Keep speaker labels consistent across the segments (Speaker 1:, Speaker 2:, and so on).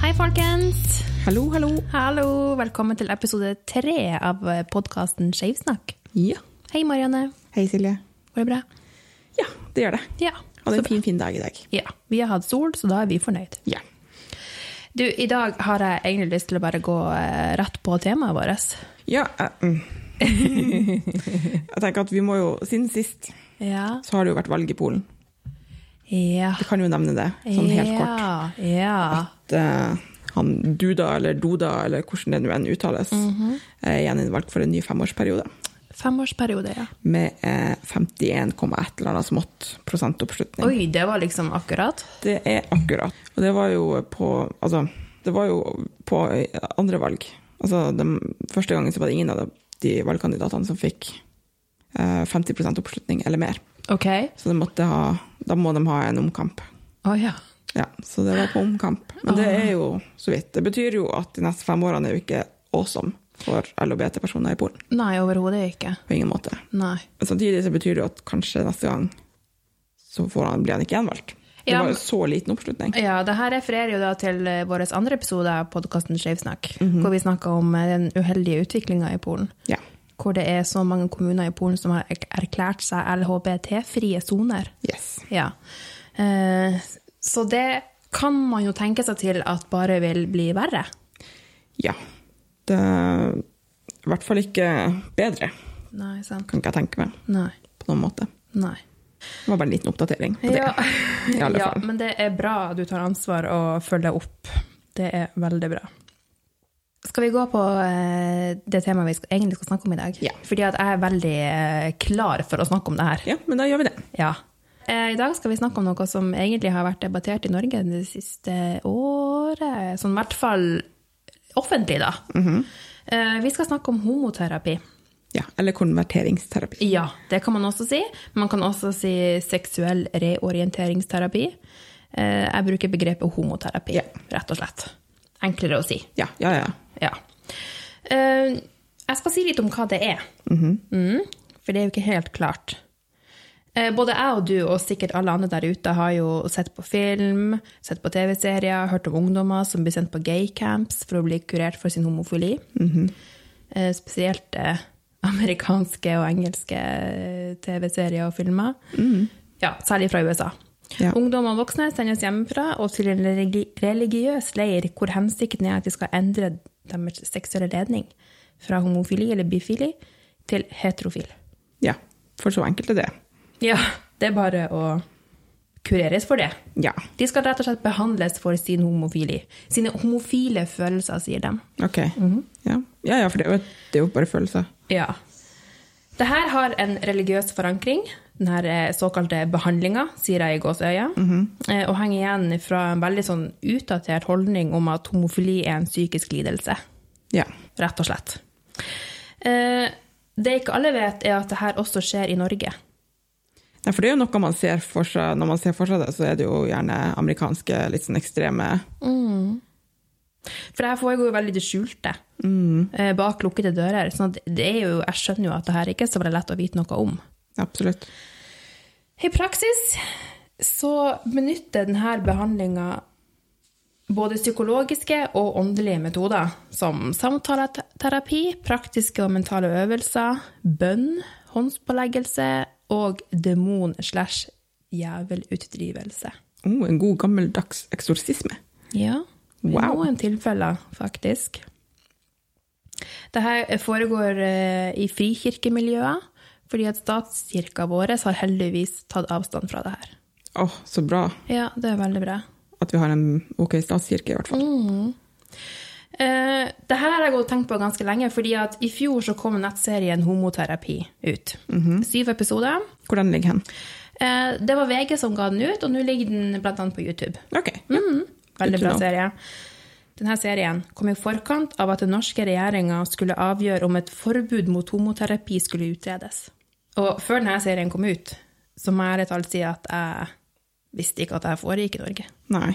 Speaker 1: folkens!
Speaker 2: Hallo, hallo.
Speaker 1: Hallo! Velkommen til episode tre av podkasten Skeivsnakk.
Speaker 2: Ja.
Speaker 1: Hei, Marianne.
Speaker 2: Hei, Silje.
Speaker 1: Var det bra?
Speaker 2: Ja, det gjør det.
Speaker 1: Ja.
Speaker 2: Hadde
Speaker 1: Så
Speaker 2: en
Speaker 1: bra.
Speaker 2: fin, fin dag i dag.
Speaker 1: Ja, Vi har hatt sol, så da er vi fornøyd.
Speaker 2: Ja.
Speaker 1: Du, I dag har jeg egentlig lyst til å bare gå eh, rett på temaet vårt.
Speaker 2: Ja, eh, mm. Jeg tenker at vi må jo, siden sist,
Speaker 1: Ja.
Speaker 2: så har det jo vært valg i Polen.
Speaker 1: Ja.
Speaker 2: Vi kan jo nevne det, sånn helt kort.
Speaker 1: Ja. ja.
Speaker 2: At eh, han Duda, eller Duda, eller hvordan det nå enn uttales, er gjeninnvalgt for en ny femårsperiode.
Speaker 1: Femårsperiode, ja.
Speaker 2: Med eh, 51,1 eller annet smått prosentoppslutning.
Speaker 1: Oi, det var liksom akkurat.
Speaker 2: Det er akkurat. Og det var jo på Altså, det var jo på andre valg. Altså, den første gangen så var det ingen av de valgkandidatene som fikk eh, 50 oppslutning eller mer.
Speaker 1: OK.
Speaker 2: Så det måtte ha, da må de ha en omkamp.
Speaker 1: Å ja.
Speaker 2: Ja, så det var på omkamp. Men det er jo så vidt. Det betyr jo at de neste fem årene er jo ikke awesome for LHBT-personer i Polen.
Speaker 1: Nei, overhodet ikke.
Speaker 2: På ingen måte.
Speaker 1: Nei.
Speaker 2: Men samtidig så betyr det jo at kanskje neste gang så får han, blir han ikke gjenvalgt. Det
Speaker 1: Ja,
Speaker 2: var
Speaker 1: men-
Speaker 2: jo så liten oppslutning.
Speaker 1: Ja, det her refererer jo da til eh, vår andre episode av podkasten Skeivsnakk, hvor vi snakka om eh, den uheldige utviklinga i Polen.
Speaker 2: Ja.
Speaker 1: Hvor det er så mange kommuner i Polen som har ek- erklært seg LHBT-frie soner.
Speaker 2: Yes.
Speaker 1: Ja. Eh, Så det kan man jo tenke seg til at bare vil bli verre.
Speaker 2: Ja. Det er i hvert fall ikke bedre,
Speaker 1: Nei, sant.
Speaker 2: kan ikke jeg tenke meg,
Speaker 1: Nei.
Speaker 2: på noen måte.
Speaker 1: Nei.
Speaker 2: Det var bare en liten oppdatering på det.
Speaker 1: Ja.
Speaker 2: I alle
Speaker 1: ja,
Speaker 2: fall.
Speaker 1: men det er bra du tar ansvar og følger opp. Det er veldig bra. Skal vi gå på eh, det temaet vi skal, egentlig skal snakke om i dag?
Speaker 2: Ja.
Speaker 1: Fordi at jeg er veldig eh, klar for å snakke om det her.
Speaker 2: Ja, men da gjør vi det.
Speaker 1: Ja. Eh, I dag skal vi snakke om noe som egentlig har vært debattert i Norge det siste året. Sånn i hvert fall offentlig, da. eh, vi skal snakke om homoterapi.
Speaker 2: Ja, Eller konverteringsterapi.
Speaker 1: Ja, det kan man også si. Man kan også si seksuell reorienteringsterapi. Eh, Jeg bruker begrepet homoterapi,
Speaker 2: Ja.
Speaker 1: rett og slett. Enklere å si.
Speaker 2: Ja, ja, ja.
Speaker 1: Ja. Eh, Jeg skal si litt om hva det er. Mm, for det er jo ikke helt klart. Eh, Både jeg og du, og sikkert alle andre der ute, har jo sett på film, sett på TV-serier, hørt om ungdommer som blir sendt på gaycamps for å bli kurert for sin homofili. Eh, Spesielt eh, amerikanske og engelske eh, TV-serier og filmer. Ja, særlig fra USA.
Speaker 2: Ja.
Speaker 1: Ungdom og voksne sendes hjemmefra og til en religi- religiøs leir hvor hensikten er at de skal endre deres seksuelle ledning fra homofili eller bifili til heterofil.
Speaker 2: ja. For så enkelt er det.
Speaker 1: Ja, det er bare å kureres for det.
Speaker 2: Ja.
Speaker 1: De skal rett og slett behandles for sin homofili. Sine homofile følelser, sier de.
Speaker 2: Ok. ja. ja, ja, for det er, jo, det er jo bare følelser.
Speaker 1: Ja. Det her har en religiøs forankring, den her eh, såkalte behandlinga, sier jeg i gåseøya, eh, og henger igjen fra en veldig sånn utdatert holdning om at homofili er en psykisk lidelse.
Speaker 2: Ja.
Speaker 1: rett og slett. Eh, Det ikke alle vet, er at det her også skjer i Norge.
Speaker 2: Nei, for det er jo noe man ser for seg Når man ser for seg det, så er det jo gjerne amerikanske, litt sånn ekstreme
Speaker 1: For det her foregår jo veldig i det skjulte, eh, bak lukkede dører. Så det er jo, jeg skjønner jo at det her ikke er så veldig lett å vite noe om.
Speaker 2: Absolutt.
Speaker 1: I praksis så benytter denne behandlinga både psykologiske og åndelige metoder, som samtaleterapi, praktiske og mentale øvelser, bønn, håndspåleggelse og demon-slash-jævelutdrivelse.
Speaker 2: Oh, en god, gammeldags eksorsisme.
Speaker 1: Ja, i
Speaker 2: Wow.
Speaker 1: noen tilfeller faktisk. Dette foregår eh, i frikirkemiljøet, fordi at statskirka vår har heldigvis tatt avstand fra det her.
Speaker 2: Åh, så bra
Speaker 1: Ja, det er veldig bra.
Speaker 2: at vi har en ok statskirke, i hvert fall.
Speaker 1: Eh, det her har jeg gått og tenkt på ganske lenge, fordi at i fjor så kom nettserien Homoterapi ut. Syv episoder.
Speaker 2: Hvor den ligger hen?
Speaker 1: Eh, det var VG som ga den ut, og nå ligger den blant annet på YouTube.
Speaker 2: Ok.
Speaker 1: Veldig
Speaker 2: Good to
Speaker 1: bra
Speaker 2: know.
Speaker 1: serie. Denne serien kom i forkant av at den norske regjeringa skulle avgjøre om et forbud mot homoterapi skulle utredes. Og før denne serien kom ut, så må jeg rett og slett si at jeg visste ikke at dette foregikk i Norge.
Speaker 2: Nei,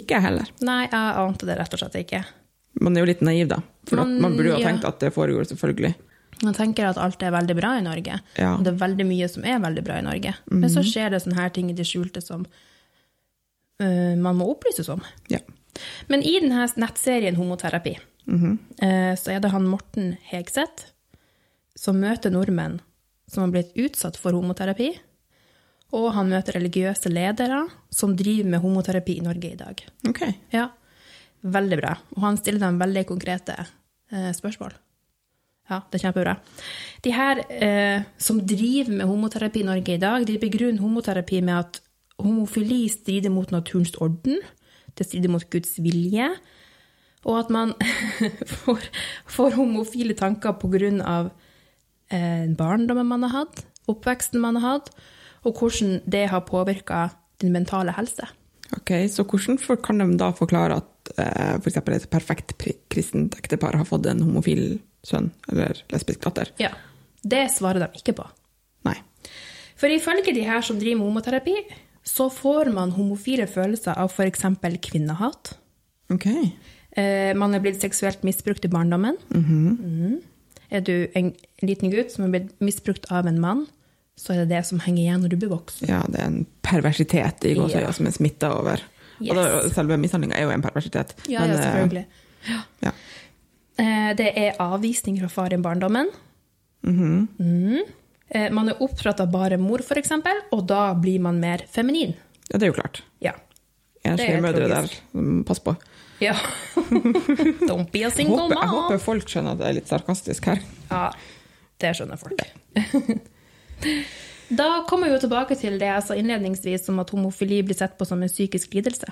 Speaker 2: ikke jeg heller.
Speaker 1: Nei, jeg ante det rett og slett ikke.
Speaker 2: Man er jo litt naiv, da. For
Speaker 1: Man-
Speaker 2: at man burde jo ha
Speaker 1: ja.
Speaker 2: tenkt at det foregår, selvfølgelig.
Speaker 1: Man tenker at alt er veldig bra i Norge.
Speaker 2: Ja.
Speaker 1: Og det er veldig mye som er veldig bra i Norge. Men så skjer det sånne her ting i det skjulte som øh, man må opplyses om.
Speaker 2: Ja.
Speaker 1: Men i denne nettserien Homoterapi eh, så er det han Morten Hegseth som møter nordmenn som har blitt utsatt for homoterapi, og han møter religiøse ledere som driver med homoterapi i Norge i dag.
Speaker 2: Ok.
Speaker 1: Ja, veldig bra. Og han stiller dem veldig konkrete eh, spørsmål. Ja, det er kjempebra. De her eh, som driver med homoterapi i Norge i dag, de begrunner homoterapi med at homofili strider mot naturens orden, det strider mot Guds vilje, og at man får, får homofile tanker på grunn av eh, barndommen man har hatt, oppveksten man har hatt, og hvordan det har påvirket din mentale helse.
Speaker 2: Ok, Så hvordan for, kan de da forklare at eh, for eksempel et perfekt pri- kristent ektepar har fått en homofil sønn eller lesbisk datter?
Speaker 1: Ja, det svarer de ikke på.
Speaker 2: Nei.
Speaker 1: For ifølge de her som driver med homoterapi, så får man homofile følelser av f.eks. kvinnehat.
Speaker 2: Ok.
Speaker 1: Eh, man er blitt seksuelt misbrukt i barndommen.
Speaker 2: Mm-hmm.
Speaker 1: Mhm. Er du en liten gutt som er blitt misbrukt av en mann, så er det det som henger igjen når du blir voksen.
Speaker 2: Ja, det er en perversitet i gåsøya
Speaker 1: Ja.
Speaker 2: som er smitta over. Og da,
Speaker 1: Yes.
Speaker 2: selve mishandlinga er jo en perversitet.
Speaker 1: Ja, ja
Speaker 2: eh,
Speaker 1: selvfølgelig.
Speaker 2: ja.
Speaker 1: Eh, det er avvisning fra far i barndommen. Mhm. Eh, man er oppdratt av bare mor, f.eks., og da blir man mer feminin.
Speaker 2: ja, det er jo klart.
Speaker 1: Ja. Det
Speaker 2: Enslige
Speaker 1: er
Speaker 2: mødre der,
Speaker 1: tragisk.
Speaker 2: mm, pass på.
Speaker 1: ja. Don't be a
Speaker 2: Jeg
Speaker 1: single
Speaker 2: håper, jeg
Speaker 1: mom!
Speaker 2: håper folk skjønner at jeg er litt sarkastisk her.
Speaker 1: Ja, det skjønner folk. Da kommer vi jo tilbake til det jeg sa innledningsvis om at homofili blir sett på som en psykisk lidelse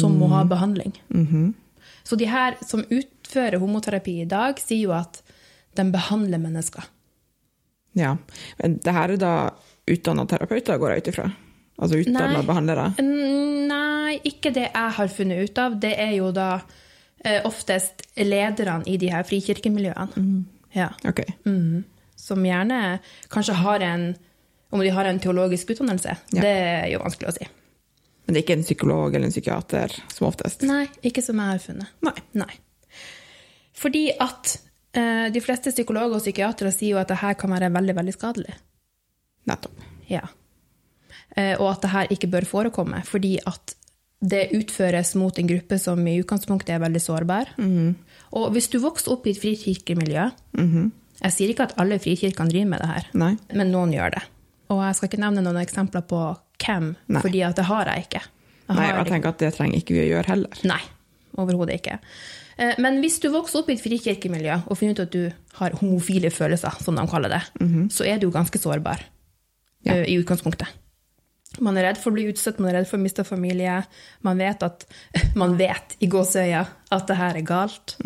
Speaker 1: som må ha behandling. Mm-hmm. Så de her som utfører homoterapi i dag, sier jo at de behandler mennesker.
Speaker 2: Ja. Men det her er da utdanna terapeuter, går jeg ut ifra? Altså utdanna
Speaker 1: Nei.
Speaker 2: behandlere?
Speaker 1: Nei, ikke det jeg har funnet ut av. Det er jo da eh, oftest lederne i de her frikirkemiljøene. Ja.
Speaker 2: Ok.
Speaker 1: Mhm. Som gjerne kanskje har en Om de har en teologisk utdannelse,
Speaker 2: Ja.
Speaker 1: det er jo vanskelig å si.
Speaker 2: Men det er ikke en psykolog eller en psykiater, som oftest?
Speaker 1: Nei, ikke som jeg har funnet.
Speaker 2: Nei.
Speaker 1: Nei. Fordi at eh, de fleste psykologer og psykiatere sier jo at det her kan være veldig, veldig skadelig.
Speaker 2: Nettopp.
Speaker 1: Ja. Eh, og at det her ikke bør forekomme, fordi at det utføres mot en gruppe som i utgangspunktet er veldig sårbar.
Speaker 2: Mhm.
Speaker 1: Og hvis du vokser opp i et frikirkemiljø Jeg sier ikke at alle frikirkene driver med det her,
Speaker 2: Nei.
Speaker 1: men noen gjør det. Og jeg skal ikke nevne noen eksempler på hvem,
Speaker 2: Nei.
Speaker 1: fordi at det har jeg ikke. Jeg
Speaker 2: Nei,
Speaker 1: har
Speaker 2: og jeg tenker at det trenger ikke vi å gjøre heller.
Speaker 1: Nei, overhodet ikke. Eh, Men hvis du vokser opp i et frikirkemiljø og finner ut at du har homofile følelser, som de kaller det, så er du jo ganske sårbar
Speaker 2: Ja.
Speaker 1: eh, i utgangspunktet. Man er redd for å bli utstøtt, man er redd for å miste familie. Man vet, at, man vet i gåseøya at det her er galt.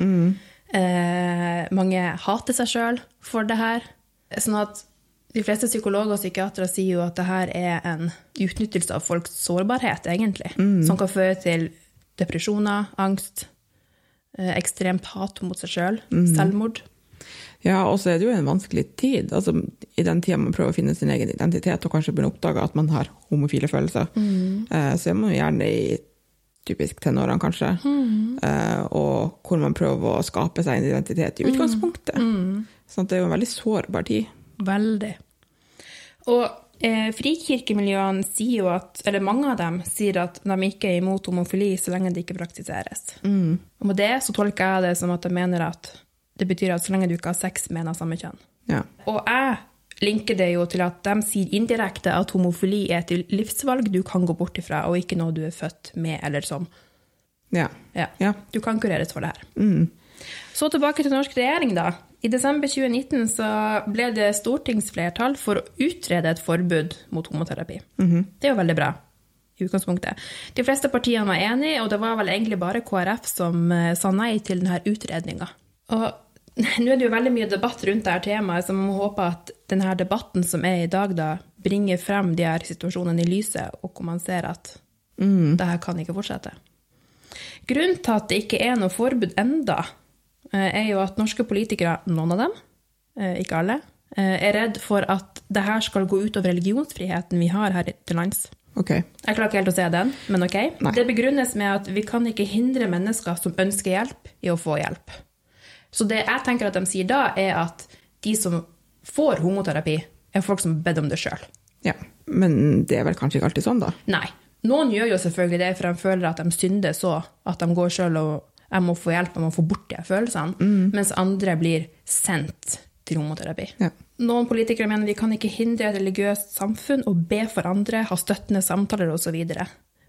Speaker 1: Eh, mange hater seg sjøl for det her. Sånn at de fleste psykologer og psykiatere sier jo at det her er en utnyttelse av folks sårbarhet, egentlig. Som kan føre til depresjoner, angst, eh, ekstremt hat mot seg sjøl, selvmord.
Speaker 2: Ja, og så er det jo en vanskelig tid. Altså, I den tida man prøver å finne sin egen identitet og kanskje begynner å oppdage at man har homofile følelser, eh, så er man jo gjerne i typisk tenårene, kanskje, eh, og hvor man prøver å skape seg en identitet i utgangspunktet. Sånn at det er jo en veldig sårbar tid.
Speaker 1: Veldig. Og eh, frikirkemiljøene sier jo at, eller mange av dem sier at de ikke er imot homofili så lenge det ikke praktiseres. Og med det så tolker jeg det som at de mener at det betyr at så lenge du ikke har sex med en av samme kjønn.
Speaker 2: Ja.
Speaker 1: Og jeg linker det jo til at de sier indirekte at homofili er et livsvalg du kan gå bort ifra, og ikke noe du er født med eller som.
Speaker 2: Ja.
Speaker 1: Ja.
Speaker 2: Ja.
Speaker 1: Du kan kureres for det her. Så tilbake til norsk regjering, da. I desember 2019 så ble det stortingsflertall for å utrede et forbud mot homoterapi. Det er jo veldig bra. I utgangspunktet. De fleste partiene var enige, og det var vel egentlig bare KrF som eh, sa nei til denne utredninga. Og nå er det jo veldig mye debatt rundt dette temaet, så man må håpe at denne debatten som er i dag, da, bringer frem de her situasjonene i lyset, og hvor man ser at det her kan ikke fortsette. Grunnen til at det ikke er noe forbud enda, eh, er jo at norske politikere, noen av dem, eh, ikke alle, eh, er redd for at det her skal gå ut over religionsfriheten vi har her i- til lands.
Speaker 2: Ok.
Speaker 1: Jeg klarer ikke helt å se den, men ok.
Speaker 2: Nei.
Speaker 1: Det begrunnes med at vi kan ikke hindre mennesker som ønsker hjelp, i å få hjelp. Så det jeg tenker at de sier da, er at de som får homoterapi, er folk som har bedt om det sjøl.
Speaker 2: Ja. Men det er vel kanskje ikke alltid sånn, da?
Speaker 1: Nei. Noen gjør jo selvfølgelig det, for de føler at de synder så at de går sjøl og jeg må få hjelp, jeg må få bort de følelsene. Mens andre blir sendt til homoterapi.
Speaker 2: Ja.
Speaker 1: Noen politikere mener vi kan ikke hindre et religiøst samfunn å be for andre, ha støttende samtaler osv.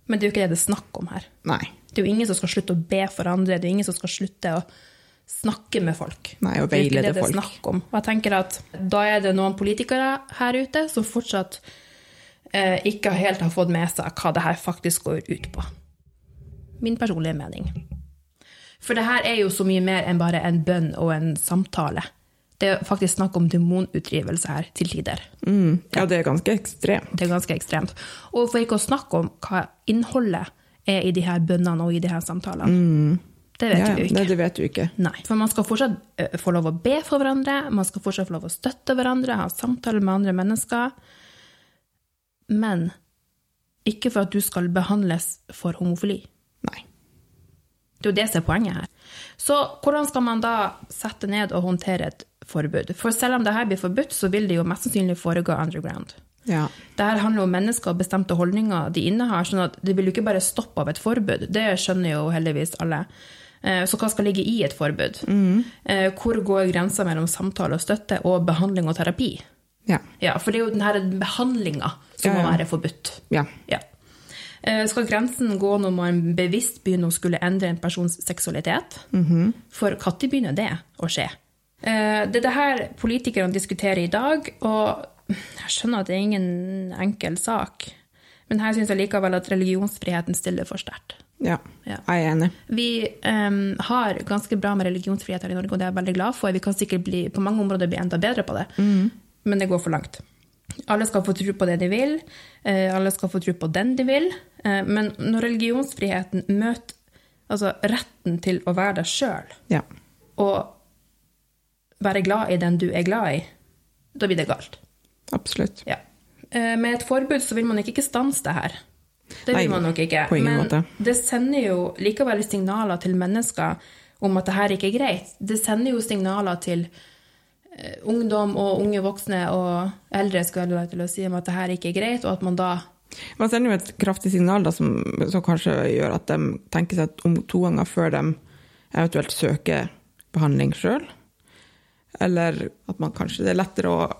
Speaker 1: Men det er jo ikke det det er snakk om her.
Speaker 2: Nei.
Speaker 1: Det er jo ingen som skal slutte å be for andre, det er jo ingen som skal slutte å snakke med folk.
Speaker 2: Nei, og
Speaker 1: Det er jo ikke
Speaker 2: veilede
Speaker 1: det det er
Speaker 2: folk.
Speaker 1: snakk om. Og jeg tenker at da er det noen politikere her ute som fortsatt eh, ikke helt har fått med seg hva det her faktisk går ut på. Min personlige mening. For det her er jo så mye mer enn bare en bønn og en samtale. Det er faktisk snakk om demonutdrivelse her, til tider.
Speaker 2: Mm. Ja, det er ganske ekstremt.
Speaker 1: Det er ganske ekstremt. Og for ikke å snakke om hva innholdet er i de her bønnene og i de her samtalene. Det vet
Speaker 2: Mm. Ja, ja.
Speaker 1: vi jo ikke.
Speaker 2: Nei, det vet du ikke.
Speaker 1: Nei. For man skal fortsatt eh, få lov å be for hverandre, man skal fortsatt få lov å støtte hverandre, ha samtaler med andre mennesker. Men ikke for at du skal behandles for homofili.
Speaker 2: Nei.
Speaker 1: Det er jo det som er poenget her. Så hvordan skal man da sette ned og håndtere et forbud? For selv om det her blir forbudt, så vil det jo mest sannsynlig foregå underground.
Speaker 2: Ja.
Speaker 1: Det her handler jo om mennesker og bestemte holdninger de innehar, sånn at det vil jo ikke bare stoppe av et forbud. Det skjønner jo heldigvis alle. Eh, Så hva skal ligge i et forbud?
Speaker 2: Mm.
Speaker 1: Eh, Hvor går grensa mellom samtale og støtte og behandling og terapi?
Speaker 2: Ja.
Speaker 1: Ja, for det er jo denne behandlinga som
Speaker 2: Ja, ja.
Speaker 1: må være forbudt.
Speaker 2: ja.
Speaker 1: Ja. Eh, Skal grensen gå når man bevisst begynner å skulle endre en persons seksualitet? For når begynner det å skje? Eh, Det er det her politikerne diskuterer i dag, og jeg skjønner at det er ingen enkel sak. Men her syns jeg likevel at religionsfriheten stiller for sterkt.
Speaker 2: ja.
Speaker 1: Ja.
Speaker 2: Jeg er enig.
Speaker 1: Vi em, har ganske bra med religionsfrihet her i Norge, og det er jeg veldig glad for. Vi kan sikkert bli, på mange områder bli enda bedre på det, men det går for langt. Alle skal få tro på det de vil, eh, alle skal få tro på den de vil, eh, men når religionsfriheten møter altså, retten til å være deg sjøl,
Speaker 2: Ja.
Speaker 1: og være glad i den du er glad i, da blir det galt.
Speaker 2: Absolutt.
Speaker 1: Ja. Eh, Med et forbud så vil man ikke stanse det her. Det
Speaker 2: Nei,
Speaker 1: vil man nok ikke.
Speaker 2: på ingen
Speaker 1: Men
Speaker 2: måte.
Speaker 1: det sender jo likevel signaler til mennesker om at det her ikke er greit. Det sender jo signaler til eh, ungdom og unge voksne og eldre skulle jeg ha lov til å si om at det her ikke er greit, og at man da
Speaker 2: Man sender jo et kraftig signal da, som, som kanskje gjør at de tenker seg om to ganger før de eventuelt søker behandling sjøl. Eller at man kanskje det er lettere å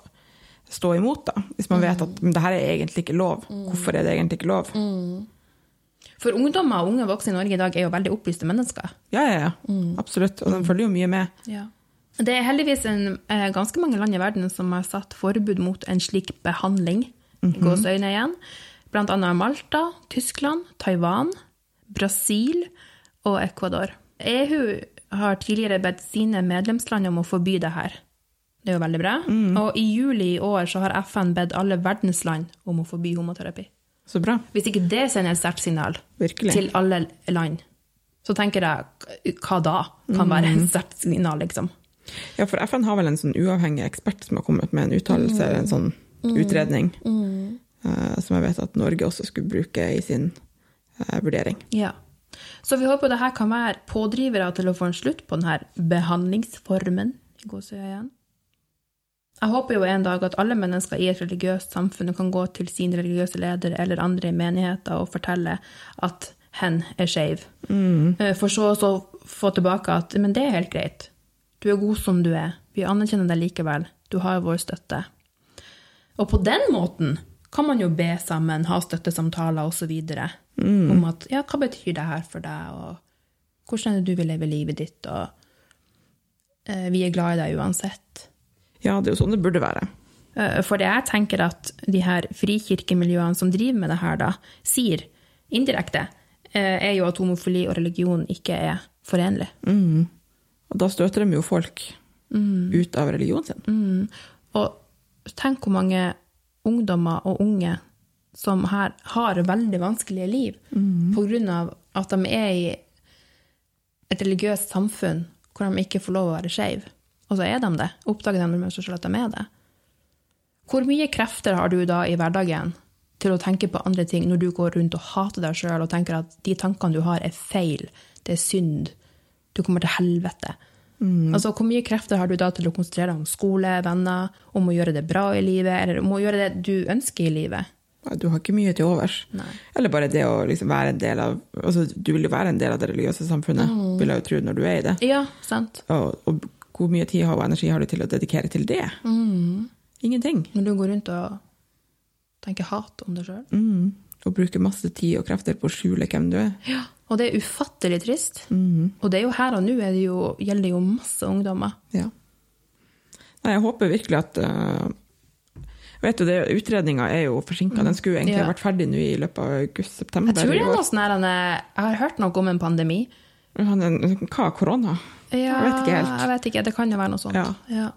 Speaker 2: stå imot, da. Hvis man vet at men, det her er egentlig ikke lov. Hvorfor er det egentlig ikke lov?
Speaker 1: For ungdommer og unge voksne i Norge i dag er jo veldig opplyste mennesker.
Speaker 2: Ja, ja, ja.
Speaker 1: Mm.
Speaker 2: Absolutt. Og de følger jo mye med.
Speaker 1: Det er heldigvis en, eh, ganske mange land i verden som har satt forbud mot en slik behandling. Gåseøyne igjen. Blant annet Malta, Tyskland, Taiwan, Brasil og Ecuador. EU har tidligere bedt sine medlemsland om å forby det her. Det er jo veldig bra. Og i juli i år så har FN bedt alle verdens land om å forby homoterapi.
Speaker 2: Så bra.
Speaker 1: Hvis ikke det sender et sterkt signal
Speaker 2: Virkelig.
Speaker 1: til alle land, så tenker jeg hva da kan være et sterkt signal, liksom.
Speaker 2: Ja, for FN har vel en sånn uavhengig ekspert som har kommet med en uttalelse eller en sånn
Speaker 1: Mm.
Speaker 2: utredning, eh, som jeg vet at Norge også skulle bruke i sin eh, vurdering.
Speaker 1: Ja. Så vi håper det her kan være pådrivere til å få en slutt på denne behandlingsformen. i gåseøyne. Jeg håper jo en dag at alle mennesker i et religiøst samfunn kan gå til sin religiøse leder eller andre i menigheter og fortelle at hen er skeiv. Eh, For så å så få tilbake at men det er helt greit. Du er god som du er. Vi anerkjenner deg likevel. Du har vår støtte. Og på den måten kan man jo be sammen, ha støttesamtaler osv. Mm. Om at ja, hva betyr det her for deg, og hvordan er det du vil leve livet ditt, og eh, vi er glad i deg uansett.
Speaker 2: Ja, det er jo sånn det burde være.
Speaker 1: Eh, for det jeg tenker at de her frikirkemiljøene som driver med det her, da, sier indirekte, eh, er jo at homofili og religion ikke er forenlig.
Speaker 2: Og da støter de jo folk
Speaker 1: Mm.
Speaker 2: ut av religionen sin.
Speaker 1: Og tenk hvor mange ungdommer og unge som her har veldig vanskelige liv på grunn av at de er i et religiøst samfunn hvor de ikke får lov å være skeiv. Og så er de det. Oppdager de med seg selv at de er det. Hvor mye krefter har du da i hverdagen til å tenke på andre ting når du går rundt og hater deg sjøl og tenker at de tankene du har, er feil, det er synd, du kommer til helvete? Altså, Hvor mye krefter har du da til å konsentrere deg om skole, venner, om å gjøre det bra i livet, eller om å gjøre det du ønsker i livet?
Speaker 2: Du har ikke mye til overs.
Speaker 1: Nei.
Speaker 2: Eller bare det å liksom være en del av altså Du vil jo være en del av det religiøse samfunnet,
Speaker 1: Mm.
Speaker 2: vil jeg jo tro, når du er i det.
Speaker 1: Ja, sant.
Speaker 2: Og, og hvor mye tid og energi har du til å dedikere til det?
Speaker 1: Mm.
Speaker 2: Ingenting.
Speaker 1: Når du går rundt og tenker hat om deg sjøl.
Speaker 2: Mm. Og bruke masse tid og krefter på å skjule hvem du er. Mm.
Speaker 1: Ja, og det er ufattelig trist. Og det er jo her og nå er det jo, gjelder det jo masse ungdommer.
Speaker 2: Ja. Nei, jeg håper virkelig at eh, Vet du, det, Utredninga er jo forsinka. Den skulle jo egentlig
Speaker 1: Ja.
Speaker 2: vært ferdig nå i løpet av august-september.
Speaker 1: Jeg tror det
Speaker 2: i
Speaker 1: er
Speaker 2: år.
Speaker 1: noe sånn her han er- Jeg har hørt noe om en pandemi.
Speaker 2: Han er en- Hva er korona?
Speaker 1: Ja,
Speaker 2: Jeg vet ikke helt.
Speaker 1: Jeg vet ikke, Det kan jo være noe sånt.
Speaker 2: Ja.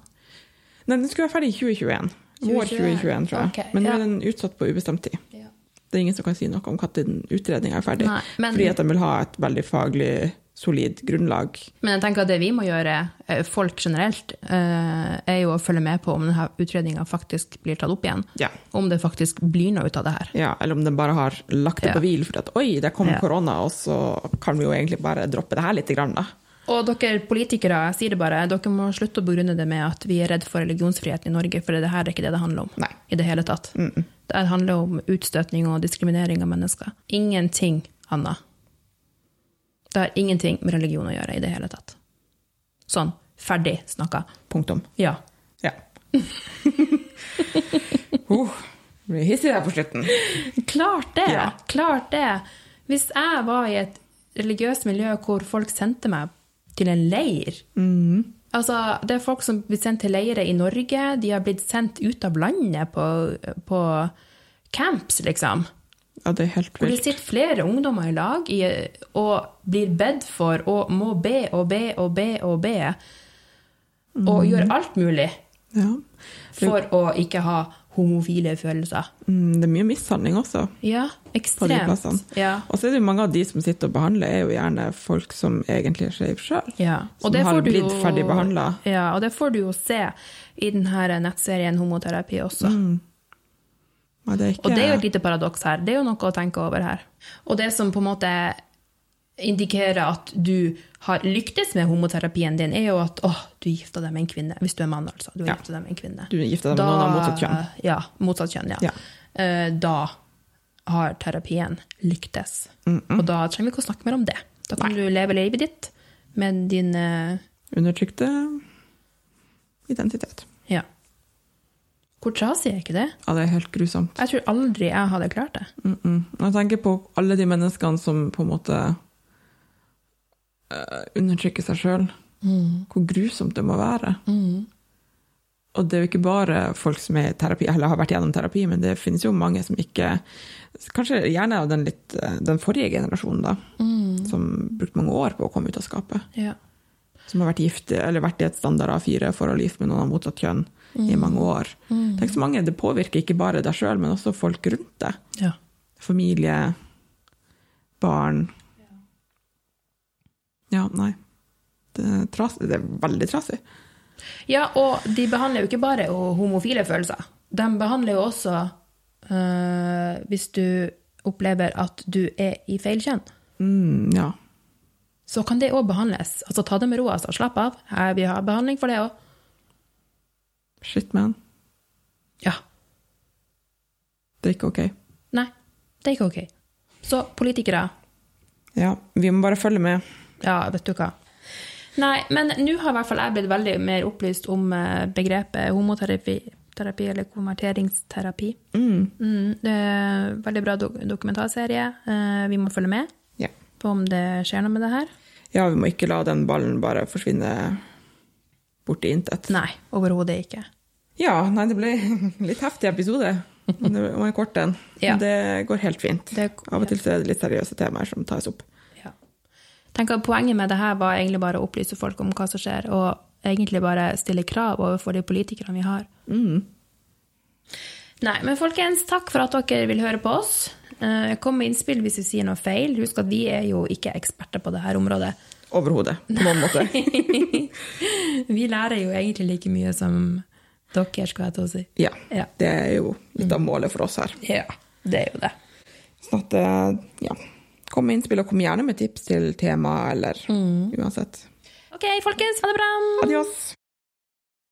Speaker 2: Nei, den skulle være ferdig i 2021. Vår
Speaker 1: 2021,
Speaker 2: 2021, tror jeg.
Speaker 1: ok,
Speaker 2: Men nå
Speaker 1: ja.
Speaker 2: er den utsatt på ubestemt tid.
Speaker 1: Ja.
Speaker 2: Det er ingen som kan si noe om når utredninga er ferdig.
Speaker 1: Nei, men-
Speaker 2: Fordi at de vil ha et veldig faglig solid grunnlag.
Speaker 1: Men jeg tenker at det vi må gjøre, eh, folk generelt, eh, er jo å følge med på om denne utredninga faktisk blir tatt opp igjen.
Speaker 2: Ja.
Speaker 1: Om det faktisk blir noe ut av det her.
Speaker 2: Ja, eller om de bare har lagt det
Speaker 1: Ja.
Speaker 2: på hvil fordi at oi, der kom
Speaker 1: Ja.
Speaker 2: korona, og så kan vi jo egentlig bare droppe det her lite grann, da.
Speaker 1: Og dere politikere, jeg sier det bare, dere må slutte å begrunne det med at vi er redd for religionsfriheten i Norge, for det her er ikke det det handler om.
Speaker 2: Nei.
Speaker 1: I det hele tatt. Det her handler om utstøtning og diskriminering av mennesker. Ingenting, Hanna. Det har ingenting med religion å gjøre i det hele tatt. Sånn. Ferdig snakka.
Speaker 2: Punktum.
Speaker 1: Ja.
Speaker 2: Ja. uh, blir hissig der på slutten.
Speaker 1: Klart det!
Speaker 2: Ja.
Speaker 1: Klart det! Hvis jeg var i et religiøst miljø hvor folk sendte meg til en leir
Speaker 2: Mhm.
Speaker 1: Altså, det er folk som blir sendt til leirer i Norge, de har blitt sendt ut av landet på, på camps, liksom.
Speaker 2: Ja, det er helt
Speaker 1: Hvor det
Speaker 2: vilt.
Speaker 1: sitter flere ungdommer i lag i, og blir bedt for og må be og be og be og be. Og
Speaker 2: Mhm.
Speaker 1: gjør alt mulig
Speaker 2: Ja.
Speaker 1: for å ikke ha homofile følelser.
Speaker 2: Mm, det er mye mishandling også.
Speaker 1: Ja,
Speaker 2: på de
Speaker 1: ekstremt.
Speaker 2: plassene.
Speaker 1: Ja.
Speaker 2: Og så er det jo mange av de som sitter og behandler, er jo gjerne folk som egentlig er skeive sjøl.
Speaker 1: Ja,
Speaker 2: Som har blitt ferdig behandlet.
Speaker 1: Ja, og det får du jo se i denne nettserien Homoterapi også.
Speaker 2: Mm, Og det er ikke
Speaker 1: Og det er jo et lite paradoks her. Det er jo noe å tenke over her. Og det som på en måte indikerer at du har lyktes med homoterapien din, er jo at åh, du gifta deg med en kvinne. Hvis du er mann, altså. Du
Speaker 2: Ja.
Speaker 1: har gifta deg med en kvinne.
Speaker 2: Du gifter deg med noen av motsatt kjønn.
Speaker 1: Ja. Motsatt kjønn, ja.
Speaker 2: Ja.
Speaker 1: Eh, Da har terapien lyktes.
Speaker 2: Mm,
Speaker 1: Og da trenger vi ikke å snakke mer om det. Da kan du leve livet ditt med din eh,
Speaker 2: Undertrykte identitet.
Speaker 1: Ja. Hvor trasig er ikke det?
Speaker 2: Ja, det er helt grusomt.
Speaker 1: Jeg tror aldri jeg hadde klart det.
Speaker 2: Mm -mm. Jeg tenker på alle de menneskene som på en måte eh, undertrykker seg sjøl. Hvor grusomt det må være. Og det er jo ikke bare folk som er i terapi, eller har vært gjennom terapi, men det finnes jo mange som ikke Kanskje gjerne av den, litt, eh, den forrige generasjonen, da. Som brukte mange år på å komme ut av skapet.
Speaker 1: Ja.
Speaker 2: som har vært gift, eller vært i et standard A4-forhold gift med noen av motsatt kjønn i mange år. Tenk så mange, Det påvirker ikke bare deg sjøl, men også folk rundt deg.
Speaker 1: Ja.
Speaker 2: Familie, barn. Ja, nei. Det er, trasig. Det er veldig trasig.
Speaker 1: ja, og de behandler jo ikke bare ho- homofile følelser. De behandler jo også øh, hvis du opplever at du er i feil kjønn.
Speaker 2: Mm, ja.
Speaker 1: Så kan det òg behandles. Altså ta det med ro, altså. Slapp av. Her, vi har behandling for det òg.
Speaker 2: Shit, man.
Speaker 1: Ja.
Speaker 2: Det er ikke OK.
Speaker 1: Nei. Det er ikke OK. Så politikere,
Speaker 2: Ja, vi må bare følge med.
Speaker 1: Ja, vet du hva. Nei, men nå har i hvert fall jeg blitt veldig mer opplyst om eh, begrepet homoterapi terapi, eller konverteringsterapi. Mm, det er en veldig bra dok dokumentarserie. Eh, Vi må følge med
Speaker 2: Ja.
Speaker 1: på om det skjer noe med det her.
Speaker 2: ja, vi må ikke la den ballen bare forsvinne bort i intet.
Speaker 1: Nei, overhodet ikke.
Speaker 2: Ja, nei, det ble litt heftig episode. Men det var en kort en.
Speaker 1: Ja.
Speaker 2: Men Det går helt fint.
Speaker 1: Det-
Speaker 2: Av og til så er det litt seriøse temaer som tas opp.
Speaker 1: Ja. Tenker at Poenget med det her var egentlig bare å opplyse folk om hva som skjer, og egentlig bare stille krav overfor de politikerne vi har.
Speaker 2: Mm.
Speaker 1: Nei, men folkens, takk for at dere vil høre på oss. Eh, Kom med innspill hvis vi sier noe feil. Husk at vi er jo ikke eksperter på dette området.
Speaker 2: Overhodet, på noen måte.
Speaker 1: Vi lærer jo egentlig like mye som dere, skulle jeg til å si.
Speaker 2: Ja.
Speaker 1: Ja.
Speaker 2: Det er jo litt av målet for oss her.
Speaker 1: Ja, det er jo det.
Speaker 2: Sånn at, eh, ja. Kom med innspill, og kom gjerne med tips til tema, eller uansett.
Speaker 1: OK, folkens, ha det bra!
Speaker 2: Adios!